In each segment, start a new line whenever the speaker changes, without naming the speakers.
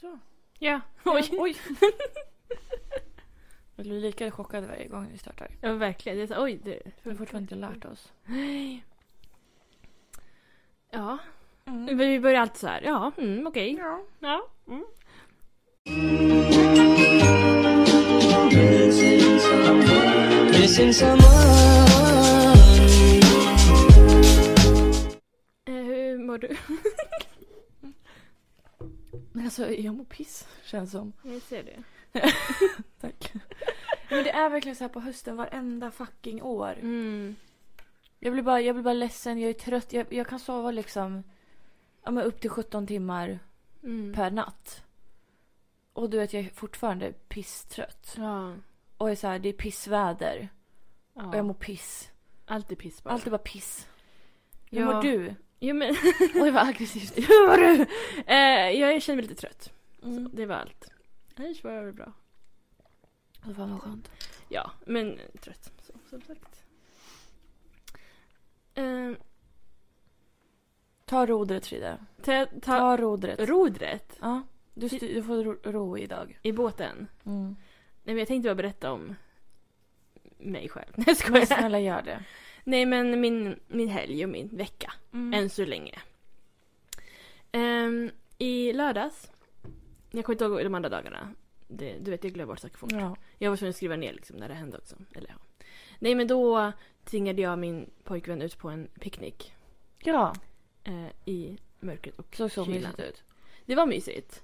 Så.
Ja, oj.
Ja, oj. Jag blir lika chockad varje gång vi startar.
Ja, men verkligen. Det är så, oj, det...
Vi har fortfarande inte lärt oss.
Ja. Men Vi börjar alltid så här. Ja, mm, okej.
Mm. Ja.
Ja. Mm.
Missing someone.
Eh, hur mår du?
Men alltså, jag mår piss känns som.
Jag ser det.
Tack. Men det är verkligen så här på hösten varenda fucking år.
Mm.
Jag blir bara, jag blir bara ledsen, jag är trött. Jag, jag kan sova liksom ja, men upp till 17 timmar
Mm.
per natt. Och du vet, jag är fortfarande pisstrött.
Ja.
Och jag är så här, det är pissväder. Och
ja.
jag mår piss.
Allt är piss bara.
Allt är bara piss. Hur
Ja.
mår du?
Jo, men...
Oj, vad aggressivt.
Hur mår du? Eh, jag känner mig lite trött.
Mm.
Så det var allt. Annars var det bra.
Åh, Fan vad skönt.
Ja, men trött så, som sagt. Eh,
Ta rodret Frida.
ta, ta
Ta rodret.
rodret
Ja, du, styr, du får ro, ro idag.
i båten.
Mm.
Nej, men jag tänkte bara berätta om mig själv. Nej, jag
Men
skojar.
snälla gör det.
Nej, men min, min helg och min vecka.
Mm.
Än så länge. Ehm, I lördags, jag kommer inte ihåg de andra dagarna. Det, du vet, jag glömmer bort saker fort.
Ja.
Jag var tvungen att skriva ner liksom när det hände också. Eller, ja. Nej, men då tvingade jag min pojkvän ut på en picknick.
ja,
eh, i mörkret och
såg så
kylan.
mysigt ut.
Det var mysigt.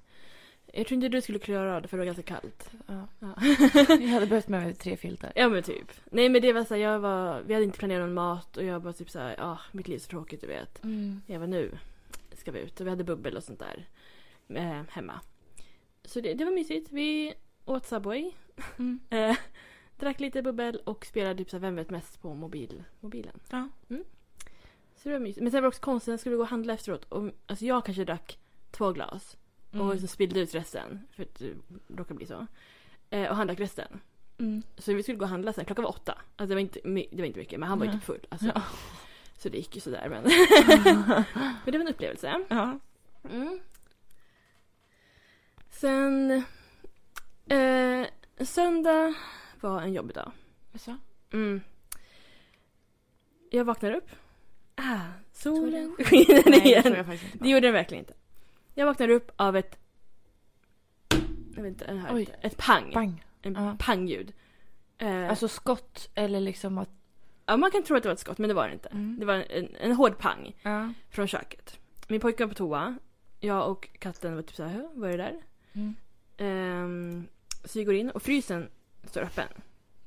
Jag tror inte du skulle klara av det för det var ganska kallt.
Ja.
Ja.
Jag hade behövt med mig tre filtar.
ja men typ. Nej men det var så här, jag var, vi hade inte planerat någon mat och jag bara typ så här, ah mitt liv är så tråkigt du vet.
Mm.
Jag var nu ska vi ut och vi hade bubbel och sånt där eh, hemma. Så det, det var mysigt. Vi åt Subway,
Mm.
eh, drack lite bubbel och spelade typ så här, Vem vet mest på mobil, mobilen.
Ja.
Mm. Så det var mysigt. Men sen var det också konstigt, sen skulle vi gå och handla efteråt och alltså jag kanske drack två glas
Mm.
och liksom spillde ut resten för att det råkade bli så. Eh, och han drack resten.
Mm.
Så vi skulle gå och handla sen, klockan var åtta. Alltså det var inte, my- det var inte mycket men han var ju
Nej.
typ full. Alltså.
Ja.
Så det gick ju sådär men. men det var en upplevelse.
Ja.
Mm. Sen... Eh, söndag var en jobbig dag.
Så.
Mm. Jag vaknar upp. Ah, solen
Solen
skiner
Nej, det tror
igen.
jag faktiskt inte.
Det gjorde den verkligen inte. Jag vaknar upp av ett... Jag vet inte, den här,
Oj.
ett pang.
Bang.
En
Ja.
pangljud. Eh,
Alltså skott eller liksom att...
ja, man kan tro att det var ett skott, men det var det inte.
Mm.
Det var en, en hård pang.
Ja.
från köket. Min pojke var på toa. Jag och katten var typ såhär, "Hö, vad är det där?
Mm.
Ehm, så vi går in och frysen står öppen.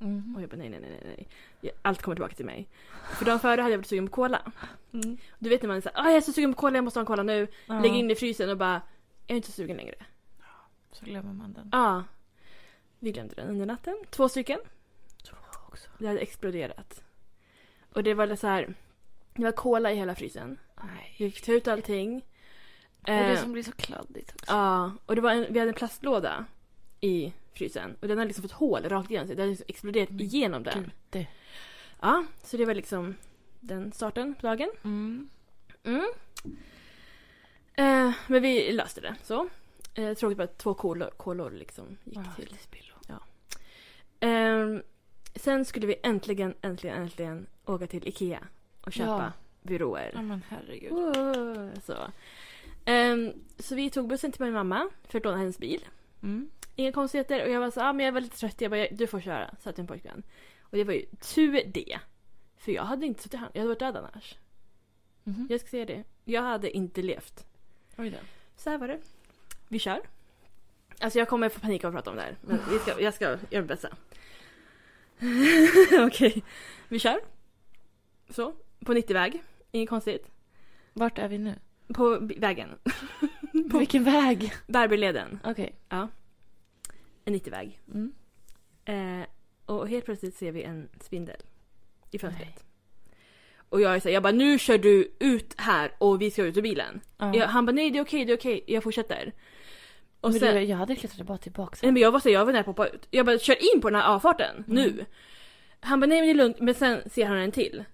Mm.
Och jag bara nej, nej, nej, nej, nej. Jag- Allt kommer tillbaka till mig. För dagen före hade jag varit sugen på cola.
Mm.
Du vet när man är såhär, "Ah, jag är så sugen på cola, jag måste ha en cola nu.
Ja.
Lägger in det i frysen och bara, jag är inte så sugen längre.
Så glömmer man den.
Ja. Vi glömde den under natten. Två stycken.
också.
Det hade exploderat. Och det var så här. det var cola i hela frysen.
Nej.
Vi fick ta ut allting.
Och det
Ehm,
som blir så kladdigt också.
Ja, och det var en, vi hade en plastlåda i frysen och den hade liksom fått hål rakt igenom sig. Den hade liksom exploderat
Men
igenom den.
Gud, det-
Ja, så det var liksom den starten på dagen.
Mm.
Mm. Eh, men vi löste det så. Eh, tråkigt bara att två kolor, kolor liksom gick
Ah,
till
till spillo.
Ehm, sen skulle vi äntligen, äntligen, äntligen åka till Ikea och köpa byråer.
Ja Oh men herregud.
Mm. Wow, så. Ehm, så vi tog bussen till min mamma för att låna hennes bil.
Mm.
Inga konstigheter. Och jag var så ah, men jag var lite trött. Jag bara, "Jag- du får köra. Sa till min pojkvän. Och det var ju tur det. För jag hade inte suttit här. Jag hade varit död annars.
Mhm.
Jag ska säga det. Jag hade inte levt.
Oj då.
Så här var det. Vi kör. Alltså jag kommer få panik av att prata om det här. Men vi ska, jag ska göra mitt bästa. Okej. Vi kör. Så. På 90-väg. Inget konstigt.
Vart är vi nu?
På bi- vägen. Mm.
På vilken väg?
Barbyleden.
Okej.
En 90-väg.
Mm.
Eh, och helt plötsligt ser vi en spindel i fönstret. Och jag är så här, jag bara nu kör du ut här och vi ska ut ur bilen.
Ja.
Jag, han bara nej det är okej, det är okej, jag fortsätter. Och
Men
sen,
du, jag hade klättrat bara tillbaka.
nej, men jag var så här, jag var nära på att hoppa ut. Jag bara kör in på den här avfarten nu. Han bara nej men det är lugnt, men sen ser han en till.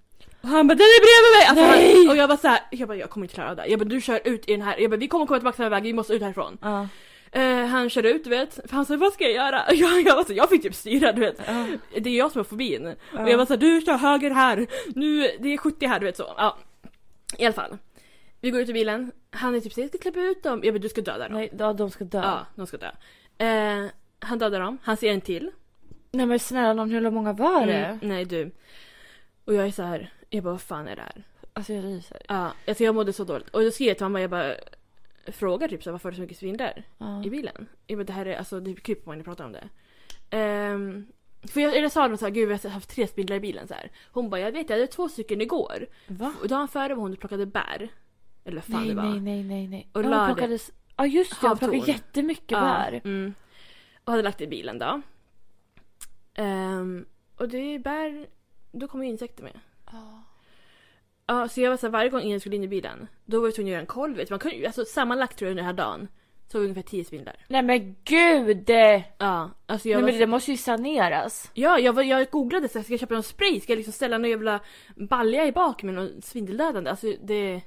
Och han bara den är bredvid mig! Alltså,
Nej!
Han, och jag bara såhär, jag bara jag kommer inte klara av det här. Jag bara du kör ut i den här, jag bara vi kommer komma tillbaka till den här vägen, vi måste ut härifrån.
Ja.
Eh, han körde ut du vet, för han sa vad ska jag göra? Och Jag, jag, var så jag fick typ styra du vet.
Ja.
Det är jag som har fobin.
Ja.
Och jag var såhär, du kör höger här, nu, det är 70 här, du vet så. Ja. I alla fall. Vi går ut ur bilen, han är typ såhär, jag ska klippa ut dem. Jag bara, du ska döda dem.
Nej, ja, de ska dö.
Ja, de ska dö. Eh, han dödar dem, han ser en till.
Nej men snälla nån, hur många var det?
Mm, nej du. Och jag är så här, jag bara vad fan är det här?
Alltså jag ryser.
Ja, alltså jag mådde så dåligt. Och jag skrev till mamma, jag bara frågar typ så här, varför är det så mycket svindlar
Ja.
i bilen? Jag bara det här är, alltså det är kryper man när pratar om det. Ehm, för jag, eller sa de så här, gud vi har haft tre spindlar i bilen så här. Hon bara, jag vet jag hade två stycken igår.
Va?
Och dagen före var hon och plockade bär. Eller fan
nej,
det var.
nej, nej, nej, nej.
Och
Ja,
la
hon
det-
plockades... Ja just det, hon
Havtorn.
plockade jättemycket
Ja,
bär.
Mm. Och hade lagt det i bilen då. Ehm, och det är bär, då kommer ju insekter med.
Ja.
Ja, så jag var så här, varje gång ingen skulle in i bilen, då var jag tvungen att göra en koll. Vet. du. Man kunde, ju- alltså, sammanlagt tror jag den här dagen, så var det ungefär tio spindlar.
Nej men gud! Nej,
Ja, alltså jag
men
var,
det där måste ju saneras.
ja, jag, var, jag googlade så här, ska jag köpa någon spray? Ska jag liksom ställa någon jävla balja i bak med någon svindeldödande? Alltså det...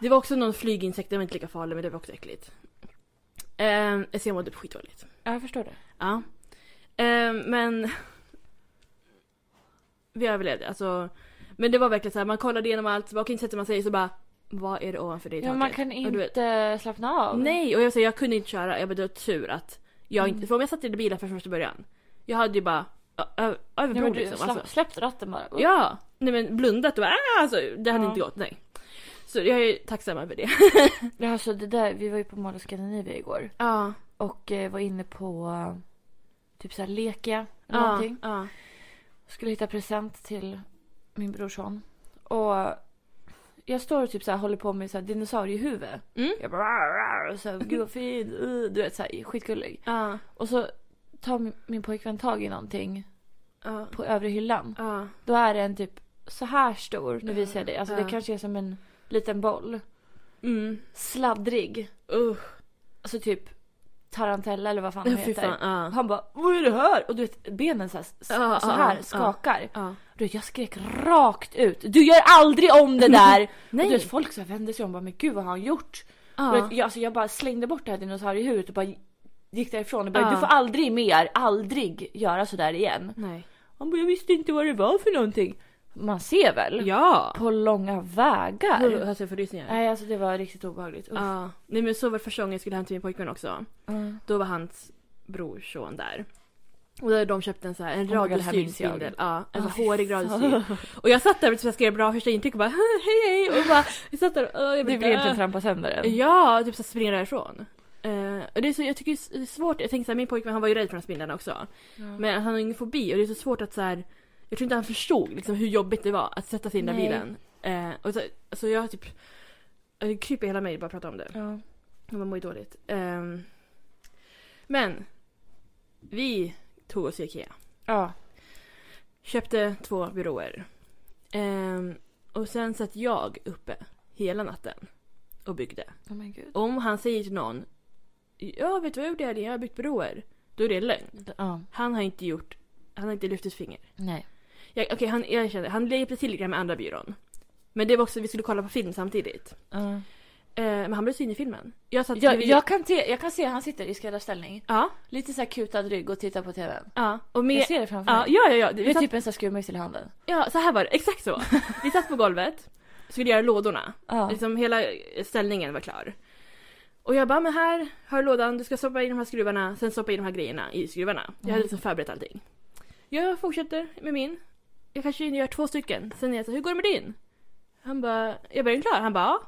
Det var också någon flyginsekt, den var inte lika farlig men det var också äckligt. Um, så jag mådde skitdåligt.
Ja, jag förstår det.
Ja. Ehm, men... Vi överlevde alltså. Men det var verkligen så här, man kollade igenom allt, så bara, okej sätter man sig så bara, vad är det ovanför dig i
Ja,
taket?
man kan
Och du vet-
inte slappna av.
Nej, och jag, säger, jag kunde inte köra. Jag bara, det var tur att jag
Mm.
inte... För om jag satt i bilen från första början. Jag hade ju bara... ö- ö- Över bron
Nej, men du,
liksom.
slapp,
Alltså.
Släppt ratten bara. Upp.
Ja! Nej men blundat och bara, "Ah!" alltså, Det hade
Ja.
inte gått, nej. Så jag är ju tacksam över det.
Ja, Alltså det där, vi var ju på Mall of Scandinavia igår.
Ja.
Och eh, var inne på eh, typ såhär Lekia. eller
Ja.
Någonting.
ja.
Skulle hitta present till min brorson. Och jag står och typ så här, håller på med så här dinosauriehuvud.
Mm.
Jag bara "Rar, rar", och så här, gud vad fin, uh, du vet så här, skitgullig.
Ja.
Och så tar min, min pojkvän tag i någonting
Ja.
på övre hyllan.
Ja.
Då är den typ så här stor, nu visar jag dig. Alltså
Ja.
det kanske är som en liten boll.
Mm.
Sladdrig.
Usch.
Alltså typ tarantella eller vad fan
Ja,
den
Fy
heter.
fan. Ja.
Han bara vad är det här? Och du vet benen så här, s-
Ja,
så
ja,
här
ja.
skakar.
Ja.
Du vet, jag skrek rakt ut. Du gör aldrig om det där! Och
Nej.
Du vet, folk så här vände sig om och bara men gud vad har han gjort?
ja.
Du vet, jag, alltså, jag bara slängde bort det här dinosauriehuvudet och bara gick därifrån och bara
Ja.
du får aldrig mer, aldrig göra sådär igen.
Nej.
Han bara jag visste inte vad det var för någonting. Man ser väl?
Ja.
På långa vägar.
Alltså jag får rysningar.
Nej alltså det var riktigt obehagligt. Usch.
Ja. Nej men så var det första gången jag skulle hem till min pojkvän också.
Mm.
Då var hans brorson där. Och då hade de köpt en, så här, en
Oh my God, det här
radiostyrd
minns jag.
spindel. Ja, en så
Ah, fy
hårig
fan.
radiostyrd. Och jag satt där och typ skrev bra första intryck och bara hej hej. Och bara, jag satt där och "Åh, jag
Det blir inte trampa sönder den.
Ja, typ så här, springa därifrån. Eh, och det är så, jag tycker det är svårt, jag tänkte såhär min pojkvän han var ju rädd för de här spindlarna också.
Ja.
Men han har ingen fobi och det är så svårt att såhär, jag tror inte han förstod liksom, hur jobbigt det var att sätta sig i den där
Nej.
bilen. Eh, och så, så jag typ, jag kryper hela mig bara att prata om det.
Ja.
Och man mår ju dåligt. Ehm, men. Vi tog oss till Ikea.
Ja.
Köpte två byråer. Ehm, och sen satt jag uppe hela natten och byggde.
Oh my god.
Om han säger till någon Ja, vet du vad jag gjorde i helgen? Jag har byggt byråer. Då är det en lögn.
Ja.
Han har inte gjort... Han har inte lyft ett finger.
Nej.
Jag- Okej, han erkände. Han hjälpte till lite grann med andra byrån. Men det var också, vi skulle kolla på film samtidigt.
Ja.
Ehm, men han blev syn i filmen. Jag satt
Jag,
bredvid-
jag, kan te- jag kan se han sitter i skräddarställning.
Ja,
Lite så här kutad rygg och tittar på tvn.
ja. Och med...
Jag ser det framför
Ja,
mig.
ja, ja. ja. Vi
Med
satt
typ en sån här skruvmejsel i handen.
Ja, så här var det. Exakt så. Vi satt på golvet, skulle göra lådorna.
Ja.
Liksom hela ställningen var klar. Och jag bara, men här har du lådan, du ska stoppa in de här skruvarna, sen stoppa in de här grejerna i skruvarna. Jag hade
Mm.
liksom förberett allting. Jag fortsätter med min. Jag kanske gör två stycken. Sen är jag så här, hur går det med din? Han bara, jag bara, är den klar? Han bara, ja.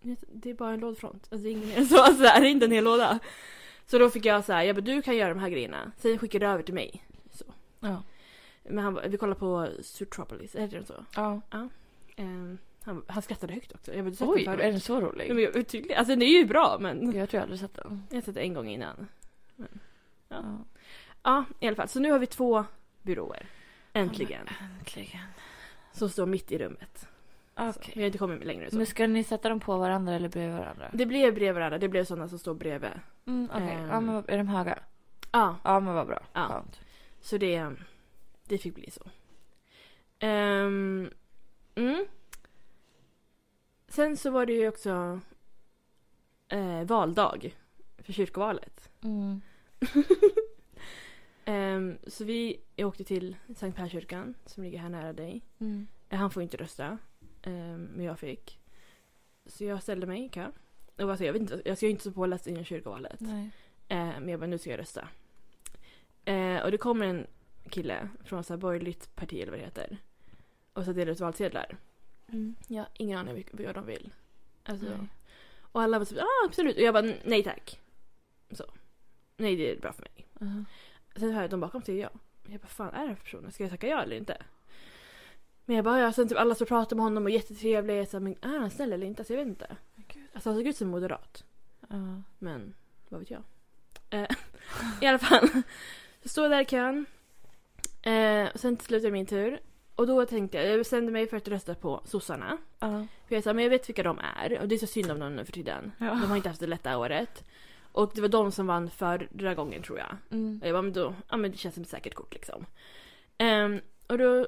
Jag sa, Det är bara en lådfront. Alltså det är ingen mer än så. Alltså, det här är inte en hel låda. Så då fick jag så här, jag bara, du kan göra de här grejerna. Sen skickar du över till mig.
Ja.
Men han bara, vi kollar på Zootropolis, heter den så?
ja.
Ehm, han, han skrattade högt också. Jag bara, du
Oj,
Oj,
är
det
den så rolig?
men jag, tydligen. Alltså det är ju bra men.
Jag tror jag aldrig sett den.
Jag har sett det en gång innan. Ja.
Ja.
Ja, i alla fall. Så nu har vi två byråer. Äntligen.
Äntligen.
Som står mitt i rummet. Så,
Okej.
Vi har inte kommit längre än så.
Men ska ni sätta dem på varandra eller bredvid varandra?
Det blev bredvid varandra. Det blev sådana som står bredvid.
Mm, Okej,
Ehm.
ja, men vad- är de höga?
Ja,
Ja men vad bra.
Ja.
Skönt.
så det, ehm, det fick bli så. Ehm, mm. Sen så var det ju också eh, valdag. för kyrkovalet.
Mm.
Ehm, så vi åkte till Sankt Perkyrkan som ligger här nära dig.
Mm.
Eh, Han får inte rösta. ehm, men jag fick. Så jag ställde mig i kö. Och alltså, jag, vet inte, jag ska ju inte så påläst innan kyrkovalet.
Nej.
Eh, men jag bara, nu ska jag rösta. Eh, och det kommer en kille från så här borgerligt parti eller vad det heter. Och så delar ut valsedlar.
Mm.
Jag har ingen aning vilka- vad de vill. Alltså,
Nej.
och alla var typ, ah, absolut. Och jag bara, nej tack. Så. Nej, det är bra för mig.
Uh-huh.
Sen hör jag de bakom säger ja. Jag bara, fan är det här för personer? Ska jag tacka ja eller inte? Men jag bara, ja. Sen typ alla står och pratar med honom och är jättetrevliga. Jag sa, men är han snäll eller inte? Alltså, jag vet inte. Alltså han såg ut som en moderat.
Ja.
Men vad vet jag. Eh, I alla fall. Så står jag där i kön. Eh, och sen till slut är det min tur. Och då tänkte jag, jag bestämde mig för att rösta på sossarna.
Ja.
För jag sa, men jag vet vilka de är. Och det är så synd om dem nu för tiden. De har inte haft det lätta året. Och det var de som vann förra gången tror jag.
Mm.
Och jag bara, men då, ja men det känns som ett säkert kort liksom. Ehm, och då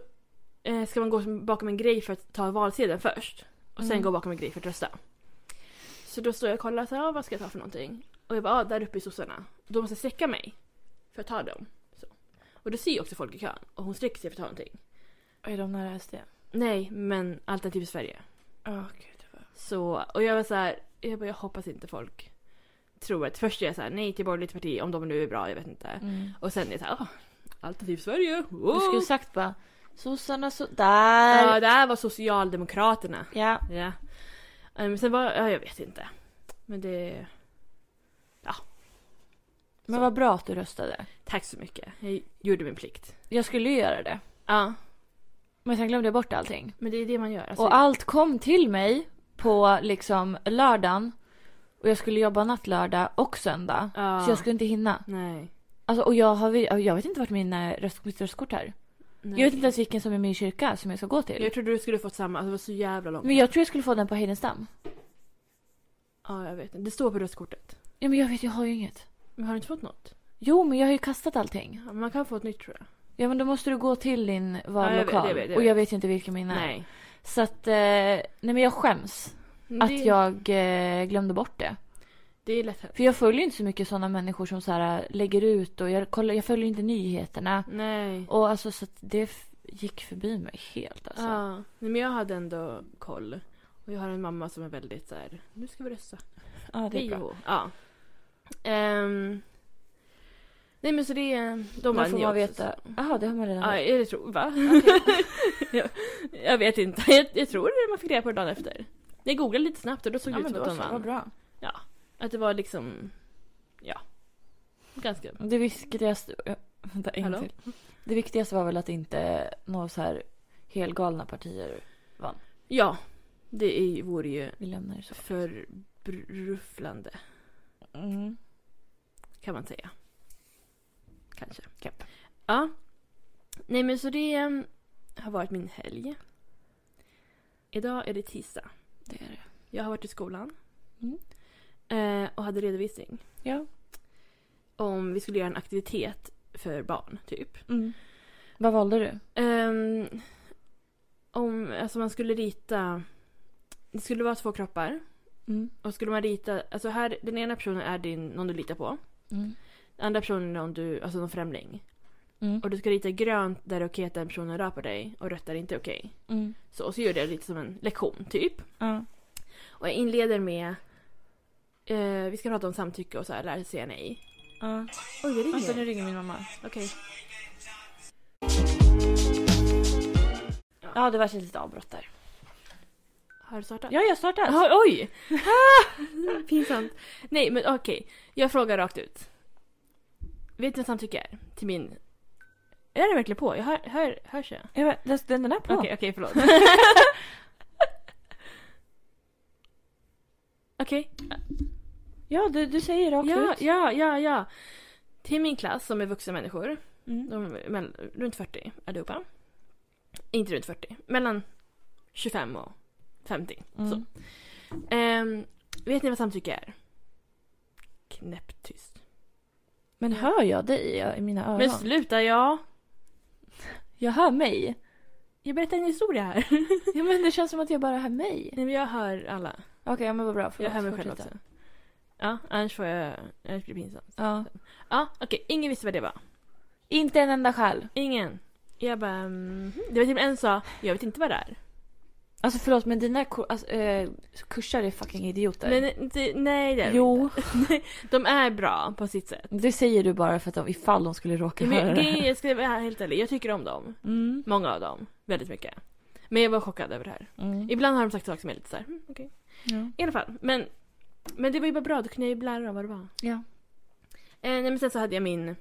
eh, ska man gå som- bakom en grej för att ta valsedeln först. Och sen
Mm.
gå bakom en grej för att rösta. Så då står jag och kollar så här, "Ah, vad ska jag ta för någonting? Och jag bara, ah, där uppe i sossarna. Då måste jag sträcka mig för att ta dem. Så. Och då ser ju också folk i kön och hon sträcker sig för att ta någonting.
Är de nära SD?
Nej, men alternativ Sverige.
Ja, gud. vad-
Så, och jag var så här, jag bara, jag hoppas inte folk tror att först är jag så här, nej till borgerligt parti om de nu är bra, jag vet inte.
Mm.
Och sen är det så här, ah, alternativ Sverige.
Du skulle
wow."
sagt bara sossarna så... Där!
Ja, det här var Socialdemokraterna.
Ja.
Ja. Men sen var, ja, jag vet inte. Men det,
Men
Så.
vad bra att du röstade.
tack så mycket. Jag gjorde min plikt.
Jag skulle ju göra det.
Ja,
Men sen glömde jag bort allting.
men det är det man gör. Alltså,
Och allt kom till mig på liksom lördagen. Och jag skulle jobba natt lördag och söndag.
ja.
Så jag skulle inte hinna.
Nej.
Alltså, och jag, har, vi- jag vet inte vart mina röst, mitt röstkort är.
Nej.
Jag vet inte ens vilken som är min kyrka som jag ska gå till.
Jag trodde du skulle fått samma, alltså, det var så jävla långt.
Men jag tror jag skulle få den på Heidenstam.
Ja, jag vet inte. Det står på röstkortet.
Ja, men jag vet, jag har ju inget.
Men har du inte fått något?
Jo, men jag har ju kastat allting.
Ja, men man kan få ett nytt tror jag.
Ja, men då måste du gå till
jag
din
vet,
vallokal.
jag vet, jag
och jag
vet.
vet ju inte vilken min är. Så att, eh, nej men jag skäms
Men
att
det,
jag eh, glömde bort det.
Det är lätt hänt.
För jag följer ju inte så mycket sådana människor som så här äh, lägger ut och jag, kollar, jag följer inte nyheterna.
Nej.
Och alltså så att det f- gick förbi mig helt alltså.
Ja, Nej, men jag hade ändå koll. Och jag har en mamma som är väldigt så här, nu ska vi rösta.
Ja,
Hej och hå. Ja. Ehm, nej men så det är... De
Då
vann
får
ju
man
också,
veta. Jaha, det har man
så.
redan
Ja,
vetat.
jag tror... Va? jag, jag vet inte. Jag, jag tror man fick reda på det dagen efter. Jag googlade lite snabbt och då såg det
Ja,
ut
men
som
då
att de
så, vad
vann.
bra.
Att det var liksom... Ja. Ganska...
Det viktigaste... äh, Vänta, en
Hallå?
till. Det viktigaste var väl att inte några så här helgalna partier
Ja. Det är, vore ju
vi lämnar ju så.
förbrufflande
Mm.
kan man säga. Kanske. Ja. Nej men så det ehm, har varit min helg. Idag är det tisdag.
Det är det.
Jag har varit i skolan.
Mm.
Eh, och hade redovisning.
Ja.
Om vi skulle göra en aktivitet för barn, typ.
Mm. Vad valde du?
Ehm, om, alltså man skulle rita... Det skulle vara två kroppar.
Mm.
Och skulle man rita... Alltså här, den ena personen är din, någon du litar på.
Mm.
Den andra personen är någon du, alltså någon främling.
Mm.
Och du ska rita grönt där det är okej att den personen rör på dig och rött där det inte är okej.
Mm.
Så, och så gör jag det lite som en lektion, typ.
Ja.
Och jag inleder med... Eh, vi ska prata om samtycke och så här, lära sig säga nej.
ja.
Oj, det ringer.
Vänta, Alltså, nu ringer min mamma.
Okej.
Ja, det var ett litet avbrott där.
Har du startat?
Ja, jag startar.
Ah, oj! Pinsamt. Nej, men okej. Jag frågar rakt ut. Vet ni vad samtycke är? Till min... Är den verkligen på? Jag hör, hör, hörs jag?
Jag vet, den- den är på.
Okej, okej, förlåt. okej.
Ja, du, du säger rakt
Ja,
ut.
ja, ja, ja. Till min klass som är vuxna människor.
Mm.
De är mell- runt 40 allihopa. Inte runt 40. Mellan 25 och 50.
Mm.
Så. Ehm, vet ni vad samtycke är? Knäpptyst.
Men hör jag dig i- i mina öron?
Men sluta jag!
Jag hör mig.
Jag berättar en historia här.
Ja, men det känns som att jag bara hör mig.
Nej men jag hör alla.
Okej, ja, men vad bra.
Jag
Förlåt,
hör mig själv
fortsätt.
också. Ja, annars får jag... Annars blir det pinsamt.
Ja.
Ja, okej. Ingen visste vad det var.
Inte en enda själ.
Ingen. Jag bara... mhm. Det var till och med en som sa, jag vet inte vad det är.
Alltså förlåt men dina kur- alltså, eh, kurser är fucking idioter.
Men eh, det, nej, det är de
jo,
inte. De är bra på sitt sätt.
det säger du bara för att de, ifall de skulle råka höra
Men,
det här.
jag ska vara helt ärlig, jag tycker om dem.
Mm.
Många av dem. Väldigt mycket. Men jag var chockad över det här.
Mm.
Ibland har de sagt saker som är lite såhär, mm, okej.
Ja.
I alla fall. Men, men det var ju bara bra, då kunde jag ju lära dem vad det var.
ja.
Eh, nej, men sen så hade jag min,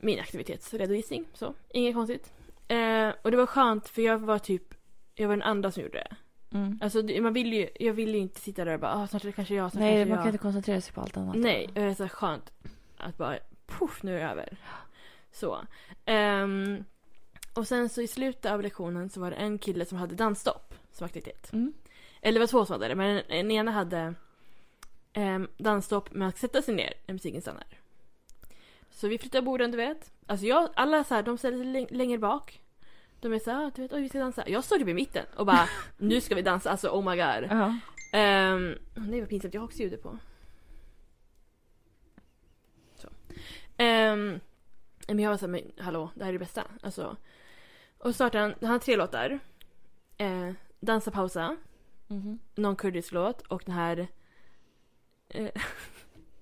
min aktivitetsredovisning. Så, inget konstigt. Eh, och det var skönt för jag var typ, jag var den andra som gjorde det.
Mm.
Alltså det- man vill ju, jag vill ju inte sitta där och bara ah, snart är det kanske jag, snart
Nej,
kanske
man
jag.
kan inte koncentrera sig på allt annat.
Nej, och det är så skönt att bara poff nu är det över. Så. Ehm, och sen så i slutet av lektionen så var det en kille som hade dansstopp som aktivitet.
Mm.
Eller det var två som hade det, men den, den ena hade um, dansstopp med att sätta sig ner när musiken stannar. Så vi flyttade borden, du vet. Alltså jag, alla så här, de ställer sig läng- längre bak. De är så här, ah, du vet, oj vi ska dansa. Jag står typ i mitten och bara, nu ska vi dansa, alltså oh my god.
Ja.
Um, nej vad pinsamt, jag har också ljudet på. Så. Ehm, men jag var såhär, men hallå, det här är det bästa. Alltså. Och startade han, han har tre låtar. Eh, Dansa pausa,
Mhm.
någon kurdisk låt och den här... Eh,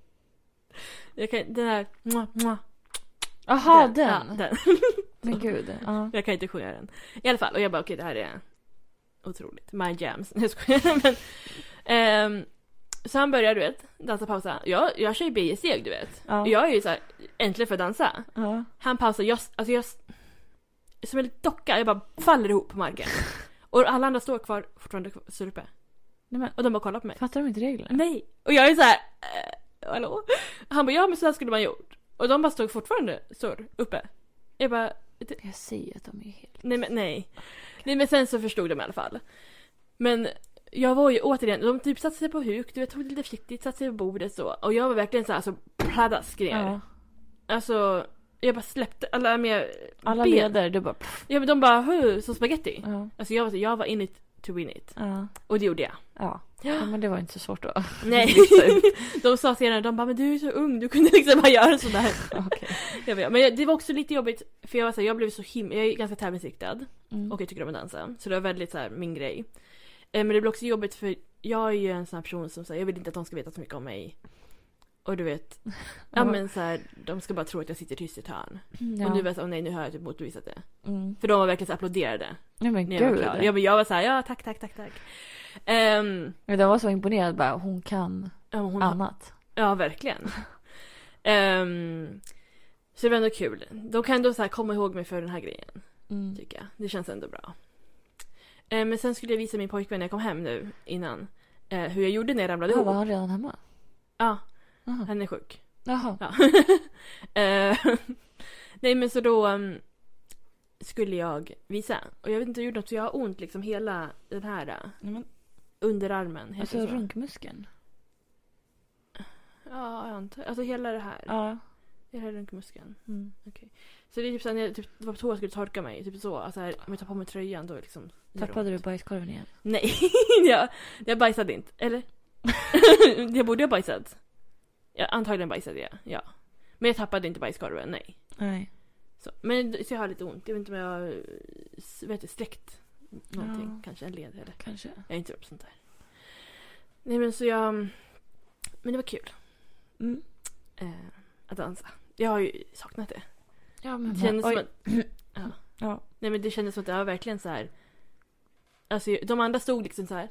jag kan, den här... Mwah, mwah,
Aha,
Ja,
den!
den.
Men gud. Ja.
Jag kan inte sjunga den. I alla fall, och jag bara okej det här är otroligt. My jams. Nej jag skojar. Men, ehm, så han börjar du vet, dansa pausa. Jag, jag kör ju BJ-steg du vet.
Ja.
Jag är ju såhär, äntligen för att dansa.
Ja.
Han pausar, jag, alltså jag, som en docka, jag bara faller ihop på marken. Och alla andra står kvar, fortfarande kvar- står uppe.
Nej, men,
Och de bara kollar på mig.
fattar de inte reglerna?
Nej! Och jag är såhär, eh, hallå? Han bara ja men så här skulle man gjort. Och de bara stod fortfarande, står uppe. Jag bara
Jag säger att de är helt...
Nej men nej. Nej men sen så förstod de i alla fall. Men jag var ju återigen, de typ satte sig på huk, du vet, tog det lite försiktigt, satte sig på bordet så. Och jag var verkligen såhär alltså pladask ner.
Ja.
Alltså jag bara släppte alla mina
Alla
ben.
leder, du bara... Pff.
Ja men de bara huh, som spaghetti.
Ja.
Alltså jag var så, jag var in it to win it.
Ja.
Och det gjorde jag.
Ja. ja, men det var inte så svårt då.
Nej. de sa senare, de bara men du är så ung, du kunde liksom bara göra sådär.
Okej.
Jag vet, men det var också lite jobbigt för jag var såhär, jag blev så himla, jag är ganska tävlingsinriktad.
Mm.
Och jag tycker om att dansa. Så det var väldigt så här, min grej. Eh, Men det blev också jobbigt för jag är ju en sån här person som säger jag vill inte att de ska veta så mycket om mig. Och du vet, ja,
Ja.
men så här, de ska bara tro att jag sitter tyst i ett hörn.
Mm, Ja.
Och nu var jag såhär, nej nu har jag typ motbevisat det.
Mm.
För de var verkligen så här, applåderade
Nej men
när jag var
gud.
klar. Jag, men jag var såhär, ja tack, tack, tack, tack. Ehm,
Men de var så imponerad bara, hon kan
ja, hon,
annat.
ja, verkligen. Ehm, så det var ändå kul. De kan ändå så här, komma ihåg mig för den här grejen.
Mm.
tycker jag. Det känns ändå bra. Eh, men sen skulle jag visa min pojkvän när jag kom hem nu innan eh, hur jag gjorde när jag ramlade
Ja, var
ihop.
han redan hemma?
Ja,
Jaha.
han är sjuk.
Jaha.
Ja. eh, nej men så då mm, skulle jag visa. Och jag vet inte hur jag gjorde något för jag har ont liksom hela den här eh,
Nej, men,
underarmen. heter
alltså
det så?
runkmuskeln.
Ja, jag antar. Alltså hela det här.
Ja.
Hela runkmuskeln.
Mm.
Så det är typ så här, när jag typ, var på toa och skulle torka mig. Typ så. Alltså här, om jag tar på mig tröjan då liksom. gör det
Tappade
ont.
du bajskorven igen?
Nej, jag, jag bajsade inte. Eller? jag borde ha bajsat. Jag, antagligen bajsade jag, ja. Men jag tappade inte bajskorven, nej.
Nej.
Så, men så jag har lite ont. Jag vet inte om jag har eh, s- vad heter, det, sträckt någonting.
Ja.
Kanske en led eller.
Kanske.
Jag är inte bra på sånt där. Nej men så jag... mm, Men det var kul
Mm.
eh, att dansa. Jag har ju saknat det.
Ja
Det
men
kändes som
Mm. oj.
att, ja.
Ja.
Nej men det kändes som att det var verkligen så här. Alltså de andra stod liksom så här.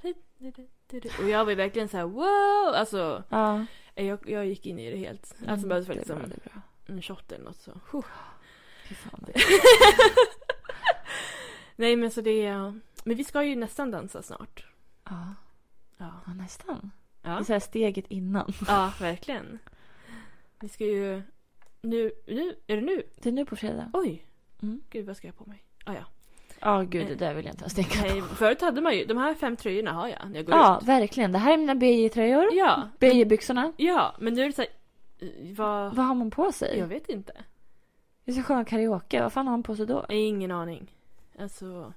Och jag var ju verkligen så här wow! Alltså
Ja.
eh, jag, jag gick in i det helt. Alltså
Mm,
behövde
det är
liksom
bra, det är bra.
en shot eller något så. Huh.
Fy fan.
Nej men så det är... Men vi ska ju nästan dansa snart.
Ja.
Ja.
ja, nästan. Det är
Ja,
så här steget innan.
ja verkligen. Vi ska ju... Nu, nu, är det nu?
Det är nu på fredag.
Oj!
Mm.
Gud vad ska jag ha på mig? Ah, ja.
Ja, gud det där vill jag inte ens tänka på.
Nej, förut hade man ju, de här fem tröjorna har jag när jag går
Ja,
ut.
verkligen. Det här är mina BJ-tröjor.
Ja,
BJ-byxorna.
ja, men nu är det så här, eh, vad,
Vad har man på sig?
jag vet inte.
Vi ska sjunga karaoke. Vad fan har man på sig då?
Jag har ingen aning. Alltså,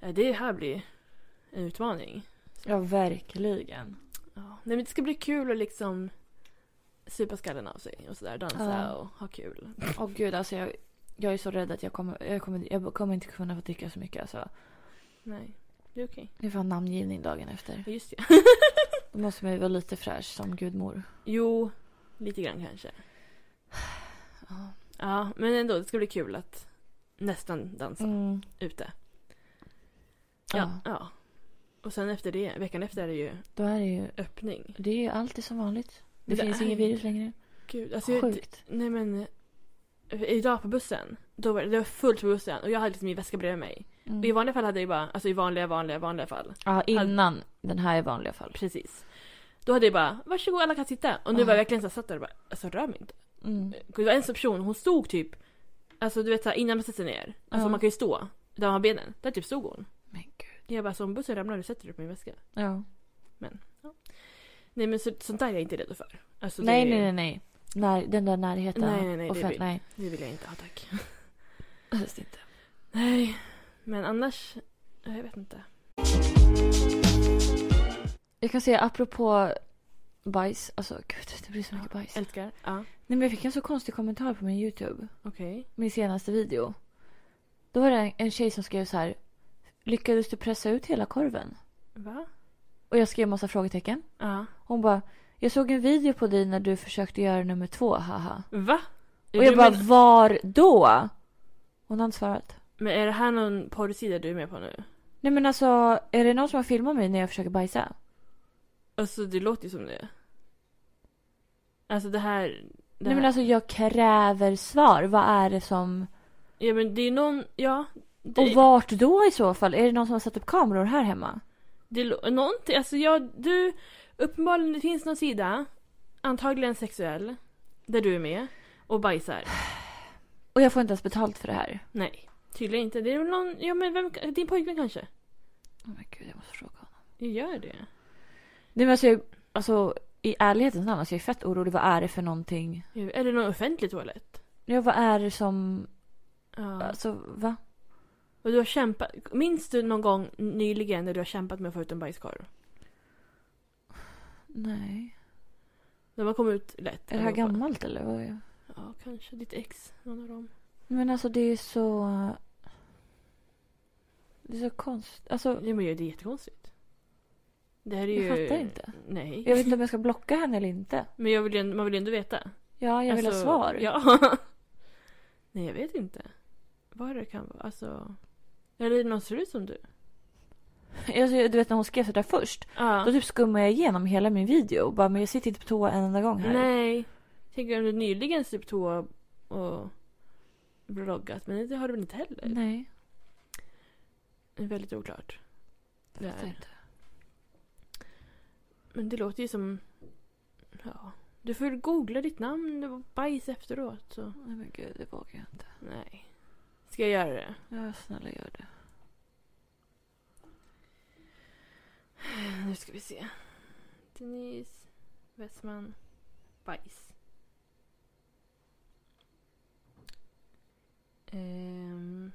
ja, det här blir en utmaning.
Ja, verkligen.
Ja. Nej men det ska bli kul att liksom supa skallen av sig och sådär. Dansa
Ja.
och ha kul.
Åh gud, alltså jag, jag är så rädd att jag kommer, jag, kommer, jag kommer inte kunna få dricka så mycket. Alltså.
Nej, det är okej.
Det är fan namngivning dagen efter.
Ja, just det.
Då måste man ju vara lite fräsch som gudmor.
Jo, lite grann kanske.
Ja.
Ja, men ändå. Det ska bli kul att nästan dansa
Mm.
ute.
Ja.
Ja. ja. Och sen efter det, veckan efter är det ju
Då är det ju,
öppning.
det är ju alltid som vanligt. Det,
Det
finns
är
ingen
ju-
virus längre.
Gud, alltså jag,
Sjukt.
Nej men, eh, idag på bussen, då var det, det var fullt på bussen och jag hade liksom min väska bredvid mig. Och i
Mm.
vanliga fall hade jag ju bara, alltså i vanliga, vanliga, vanliga fall.
Ja, innan den här i vanliga fall.
Precis. Då hade jag bara, varsågod alla kan sitta. Och nu
Ja.
var jag verkligen så här, satt där och bara, alltså rör mig inte.
Mm.
Det var en person, hon stod typ, alltså du vet så här, innan man sätter sig ner. Alltså
Ja.
man kan ju stå, där man har benen. Där typ stod hon.
Men gud.
Jag bara, så om bussen ramlar nu sätter du på min väska.
Ja.
Nej men så, sånt där är jag inte redo för. Alltså,
Nej,
det,
nej, nej, nej. När, den där närheten.
Nej, nej, nej,
och
det
för,
vill-
nej.
Det vill jag inte ha tack.
Helst inte.
Nej, men annars, jag vet inte.
Jag kan säga apropå bajs. Alltså gud, det blir så mycket bajs.
Älskar. Ja,
Nej, men jag fick en så konstig kommentar på min YouTube.
okej.
min senaste video. Då var det en- en tjej som skrev så här. Lyckades du pressa ut hela korven?
Va?
Och jag skrev massa frågetecken.
Ja.
Hon bara. Jag såg en video på dig när du försökte göra nummer två, haha.
Va?
Och jag bara, var då? Hon har inte svarat.
Men är det här någon porrsida du är med på nu?
Nej men alltså, är det någon som har filmat mig när jag försöker bajsa?
Alltså det låter ju som det. Alltså det här... Det
Nej
här.
men alltså jag kräver svar. Vad är det som...
Ja men det är någon, ja. Det,
Och vart då i så fall? Är det någon som har satt upp kameror här hemma?
det lå- någonting, alltså jag, du... Uppenbarligen det finns någon sida, antagligen sexuell, där du är med och bajsar.
Och jag får inte ens betalt för det här.
Nej, tydligen inte. Det är väl någon, ja men vem, din pojkvän kanske?
Oh men gud, jag måste fråga honom.
Jag gör det.
Nej men alltså, jag, alltså i ärlighetens namn, alltså jag är fett orolig. Vad är det för någonting?
Ju- Är det någon offentlig toalett?
Ja, vad är det som...
Ja.
Alltså, va?
Och du har kämpat, minns du någon gång nyligen när du har kämpat med att få ut en bajskorv?
Nej.
De har kommit ut lätt.
Är det här
allihopa.
gammalt eller? vad?
Ja, kanske ditt ex. Någon av dem.
Men alltså det är så... Det är så konstigt. Alltså,
Ja, men det är jättekonstigt. Det här är ju...
jag fattar inte.
Nej.
Jag vet inte om jag ska blocka henne eller inte.
Men jag vill ju, man vill ju ändå veta.
Ja, jag vill ha
Alltså,
svar.
Ja. Nej, jag vet inte. Vad det kan vara. Alltså... Eller någon ser ut som du.
Alltså, du vet när hon skrev sådär först. Då
Ja.
typ skummade jag igenom hela min video. Och bara, men jag sitter inte på toa en enda gång här.
Nej. Tänker om du nyligen typ toa och bloggat. Men det har du väl inte heller?
Nej.
Det är väldigt oklart. Det
Jag fattar
är.
inte.
Men det låter ju som... Ja. Du får googla ditt namn och bajs efteråt. Så.
Nej men gud, det vågar jag inte.
Nej. Ska jag göra det?
Ja, snälla gör det.
Nu ska vi se. Denise Westman Bajs. Ehm.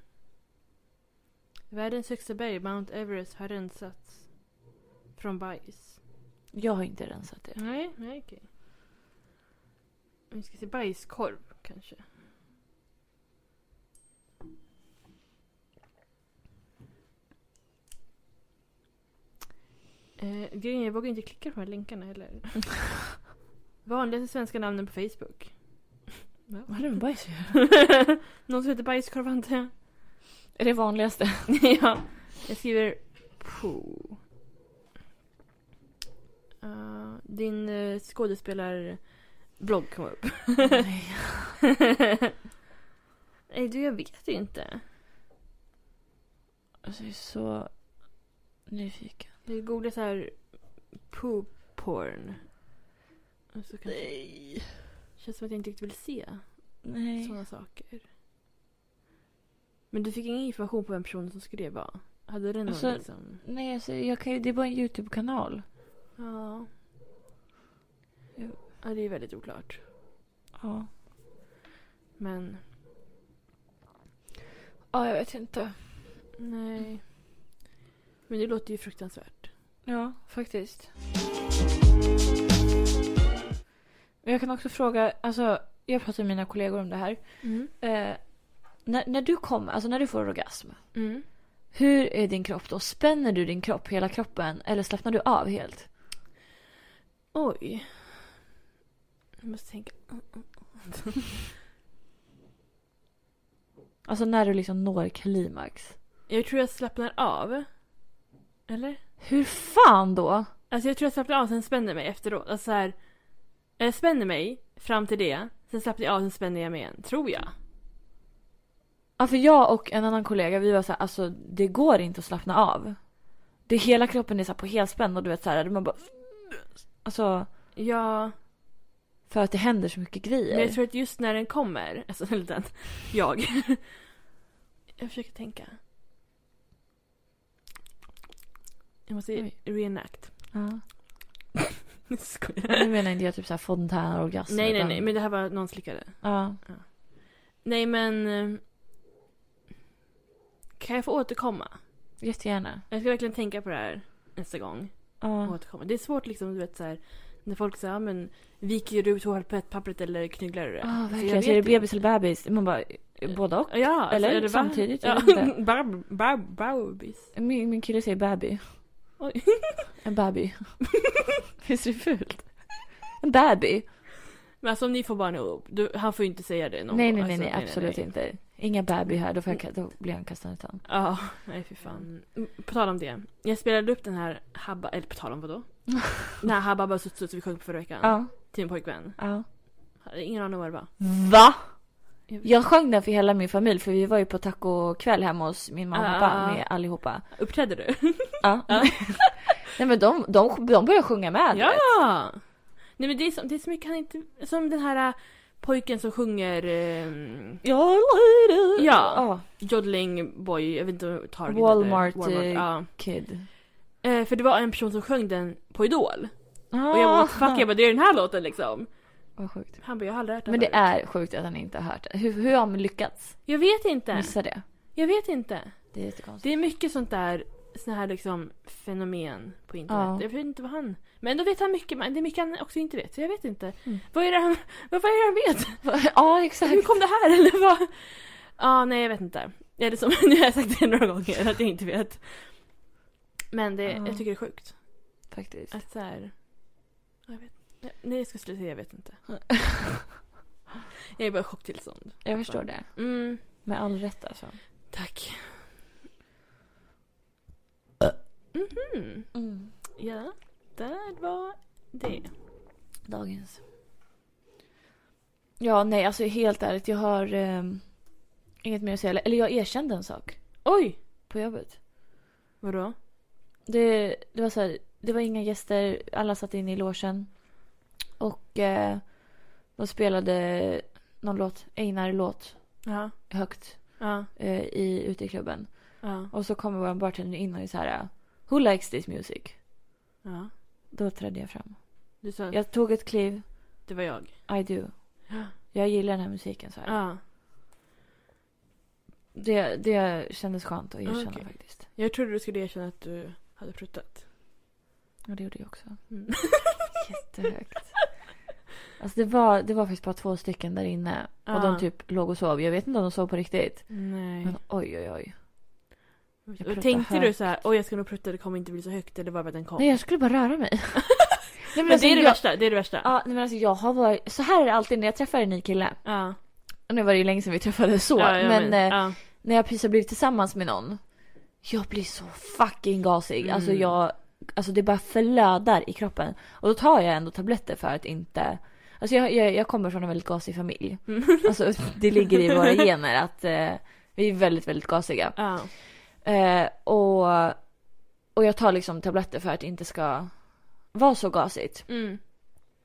Världens högsta berg, Mount Everest, har rensats från bajs.
Jag har inte rensat det.
Nej, nej okej. Vi ska se bajskorv kanske. Eh, grejen är, jag vågar inte klicka på de här länkarna heller. Vanligaste svenska namnen på Facebook. Ja.
Vad är det med bajs
Någon som heter bajskorv antar jag.
Är det vanligaste?
ja, jag skriver poo. Eh, din uh, skådespelarblogg kom upp.
Nej.
Nej du, jag vet inte.
Alltså jag är så nyfiken.
Jag googlar så här poo porn. Och så kanske,
Nej.
känns som att jag inte riktigt vill se
Nej.
sådana saker. Men du fick ingen information på vem personen som skrev var? Hade den någon
Alltså-
liksom...
Nej, alltså, jag kan ju, det är bara en YouTube-kanal.
Ja.
Jo.
Ja, det är väldigt oklart.
Ja.
Men
Ja, jag vet inte.
Nej. Men det låter ju fruktansvärt.
Ja, faktiskt. Jag kan också fråga, alltså jag pratar med mina kollegor om det här.
Mm.
Eh, när, när du kommer, alltså när du får orgasm.
Mm.
Hur är din kropp då? Spänner du din kropp, hela kroppen? Eller slappnar du av helt?
Oj. Jag måste tänka.
Alltså när du liksom når klimax.
Jag tror jag slappnar av. Eller?
Hur fan då?
Alltså jag tror jag slappnar av sen spänner mig efteråt. Alltså så här, jag spänner mig fram till det. Sen slappnar jag av sen spänner jag mig igen. Tror jag.
Ja, för jag och en annan kollega, vi var så här, alltså det går inte att slappna av. Det hela kroppen är så här på helspänn och du vet så här, man bara... Alltså,
Ja.
för att det händer så mycket grejer.
Men jag tror att just när den kommer. Alltså eller den. Jag. jag försöker tänka. Jag måste
Oj.
reenact.
Ja.
Skojar.
Nu menar inte jag typ så här fontänorgasm.
Nej nej
utan-
nej men det här var någon slickade.
Ja.
Nej men. eh, Kan jag få återkomma?
Jättegärna.
Jag ska verkligen tänka på det här nästa gång.
Ja.
återkomma. Det är svårt liksom, du vet så här, när folk säger, ja men viker du ut toalettpappret eller knyglar du det?
Ja,
Alltså,
verkligen.
jag
Så är det
vet inte.
bebis eller bebis? Man bara, både och.
Ja, alltså,
Eller
va?
samtidigt, jag
Ja.
vet inte.
Bab- bab- Babis.
Min, min kille säger baby.
Oj.
En baby. Visst är det fult? En baby.
Men alltså om ni får barn ihop, du, han får ju inte säga det någon
nej,
gång.
nej, nej,
alltså,
nej, absolut inte. Inga baby här, då, får jag, då blir han kastad utan.
Ja, nej fy fan. Mm, På tal om det. Jag spelade upp den här Habba, eller på tal om vadå? den här Habba Babba Sutt Sutt vi sjöng på förra veckan.
Ja,
Till min pojkvän.
ja.
Hade ingen aning om vad det var.
Va?
Jag vet.
Jag sjöng den för hela min familj för vi var ju på tacokväll hemma hos min mamma och
Ah.
pappa med allihopa.
Uppträdde du?
Ja.
Ja.
Nej men de, de, de började sjunga med. vet.
Ja! Nej men det är, så, det är så mycket han inte... Som den här äh, pojken som sjunger ehm,
Ja, lady.
Ja.
Ja, Ah,
Joddling Boy, jag vet inte om Target
Walmart, eh,
heter. Walmart
kid.
ja. eh, För det var en person som sjöng den på Idol. Och jag bara
Ah.
fuck, jag bara det är den här låten liksom.
Vad sjukt.
Han bara jag har aldrig hört den
Men det
förut."
är sjukt att han inte har hört det. Hur, hur har han lyckats
Jag vet inte.
missa det?
Jag vet inte.
Det är jättekonstigt.
Det är mycket sånt där såna här liksom fenomen på internet.
Ja.
Jag vet inte vad han... Men då vet han mycket, men det är mycket han också inte vet. Så jag vet inte.
Mm.
Vad är det han, vad är det han vet?
ja,
Hur
exakt.
kom det här? Eller vad? Ja, nej jag vet inte. Eller som, nu har jag sagt det några gånger att jag inte vet. Men det,
Ja.
jag tycker det är sjukt.
Faktiskt.
Att så här, jag vet ja, Nej jag ska sluta säga jag vet inte. Jag är bara i chocktillstånd.
Jag förstår det.
Mm,
Med all rätt alltså.
tack.
Äh.
Mhm.
Mm.
Ja, där var det.
Dagens. Ja, nej, alltså helt ärligt. Jag har ehm, inget mer att säga. Eller- Eller jag erkände en sak
Oj!
på jobbet.
Vadå?
Det, det var så här, det var inga gäster. Alla satt inne i logen. Och eh, de spelade någon låt, Einar-låt,
Ja,
högt
ja,
eh, i, ute i klubben.
ja,
Och så kommer vår bartender in och är så här, Who likes this music?
ja.
Då trädde jag fram.
Du sa att
Jag tog ett kliv.
det var jag.
I do. Jag gillar den här musiken, så här.
Ja.
Det, det kändes skönt att erkänna
Okej.
faktiskt.
Jag trodde du skulle erkänna att du hade pruttat.
Och det gjorde jag också.
Mm.
Jättehögt. Alltså det var, det var faktiskt bara två stycken där inne. Och
Ja.
de typ låg och sov. Jag vet inte om de sov på riktigt.
Nej.
Men oj, oj, oj. jag pruttar
och tänkte du
högt.
så här, oj jag ska nog prutta, det kommer inte bli så högt, eller var var den kom?
Nej, jag skulle bara röra mig. nej, men
men
alltså,
det är det
jag,
värsta, det är det värsta.
Ja, nej, men alltså jag har varit... Så här är det alltid när jag träffar en ny kille.
ja.
Och nu var det ju länge sedan vi träffades så.
ja, jag
men eh,
ja.
när jag precis har blivit tillsammans med någon. Jag blir så fucking gasig. Alltså
Mm.
jag, alltså det bara flödar i kroppen. Och då tar jag ändå tabletter för att inte Alltså jag, jag, jag kommer från en väldigt gasig familj.
Mm.
Alltså det ligger i våra gener att eh, vi är väldigt, väldigt gasiga.
ja.
Eh, och, och jag tar liksom tabletter för att det inte ska vara så gasigt.
Mm.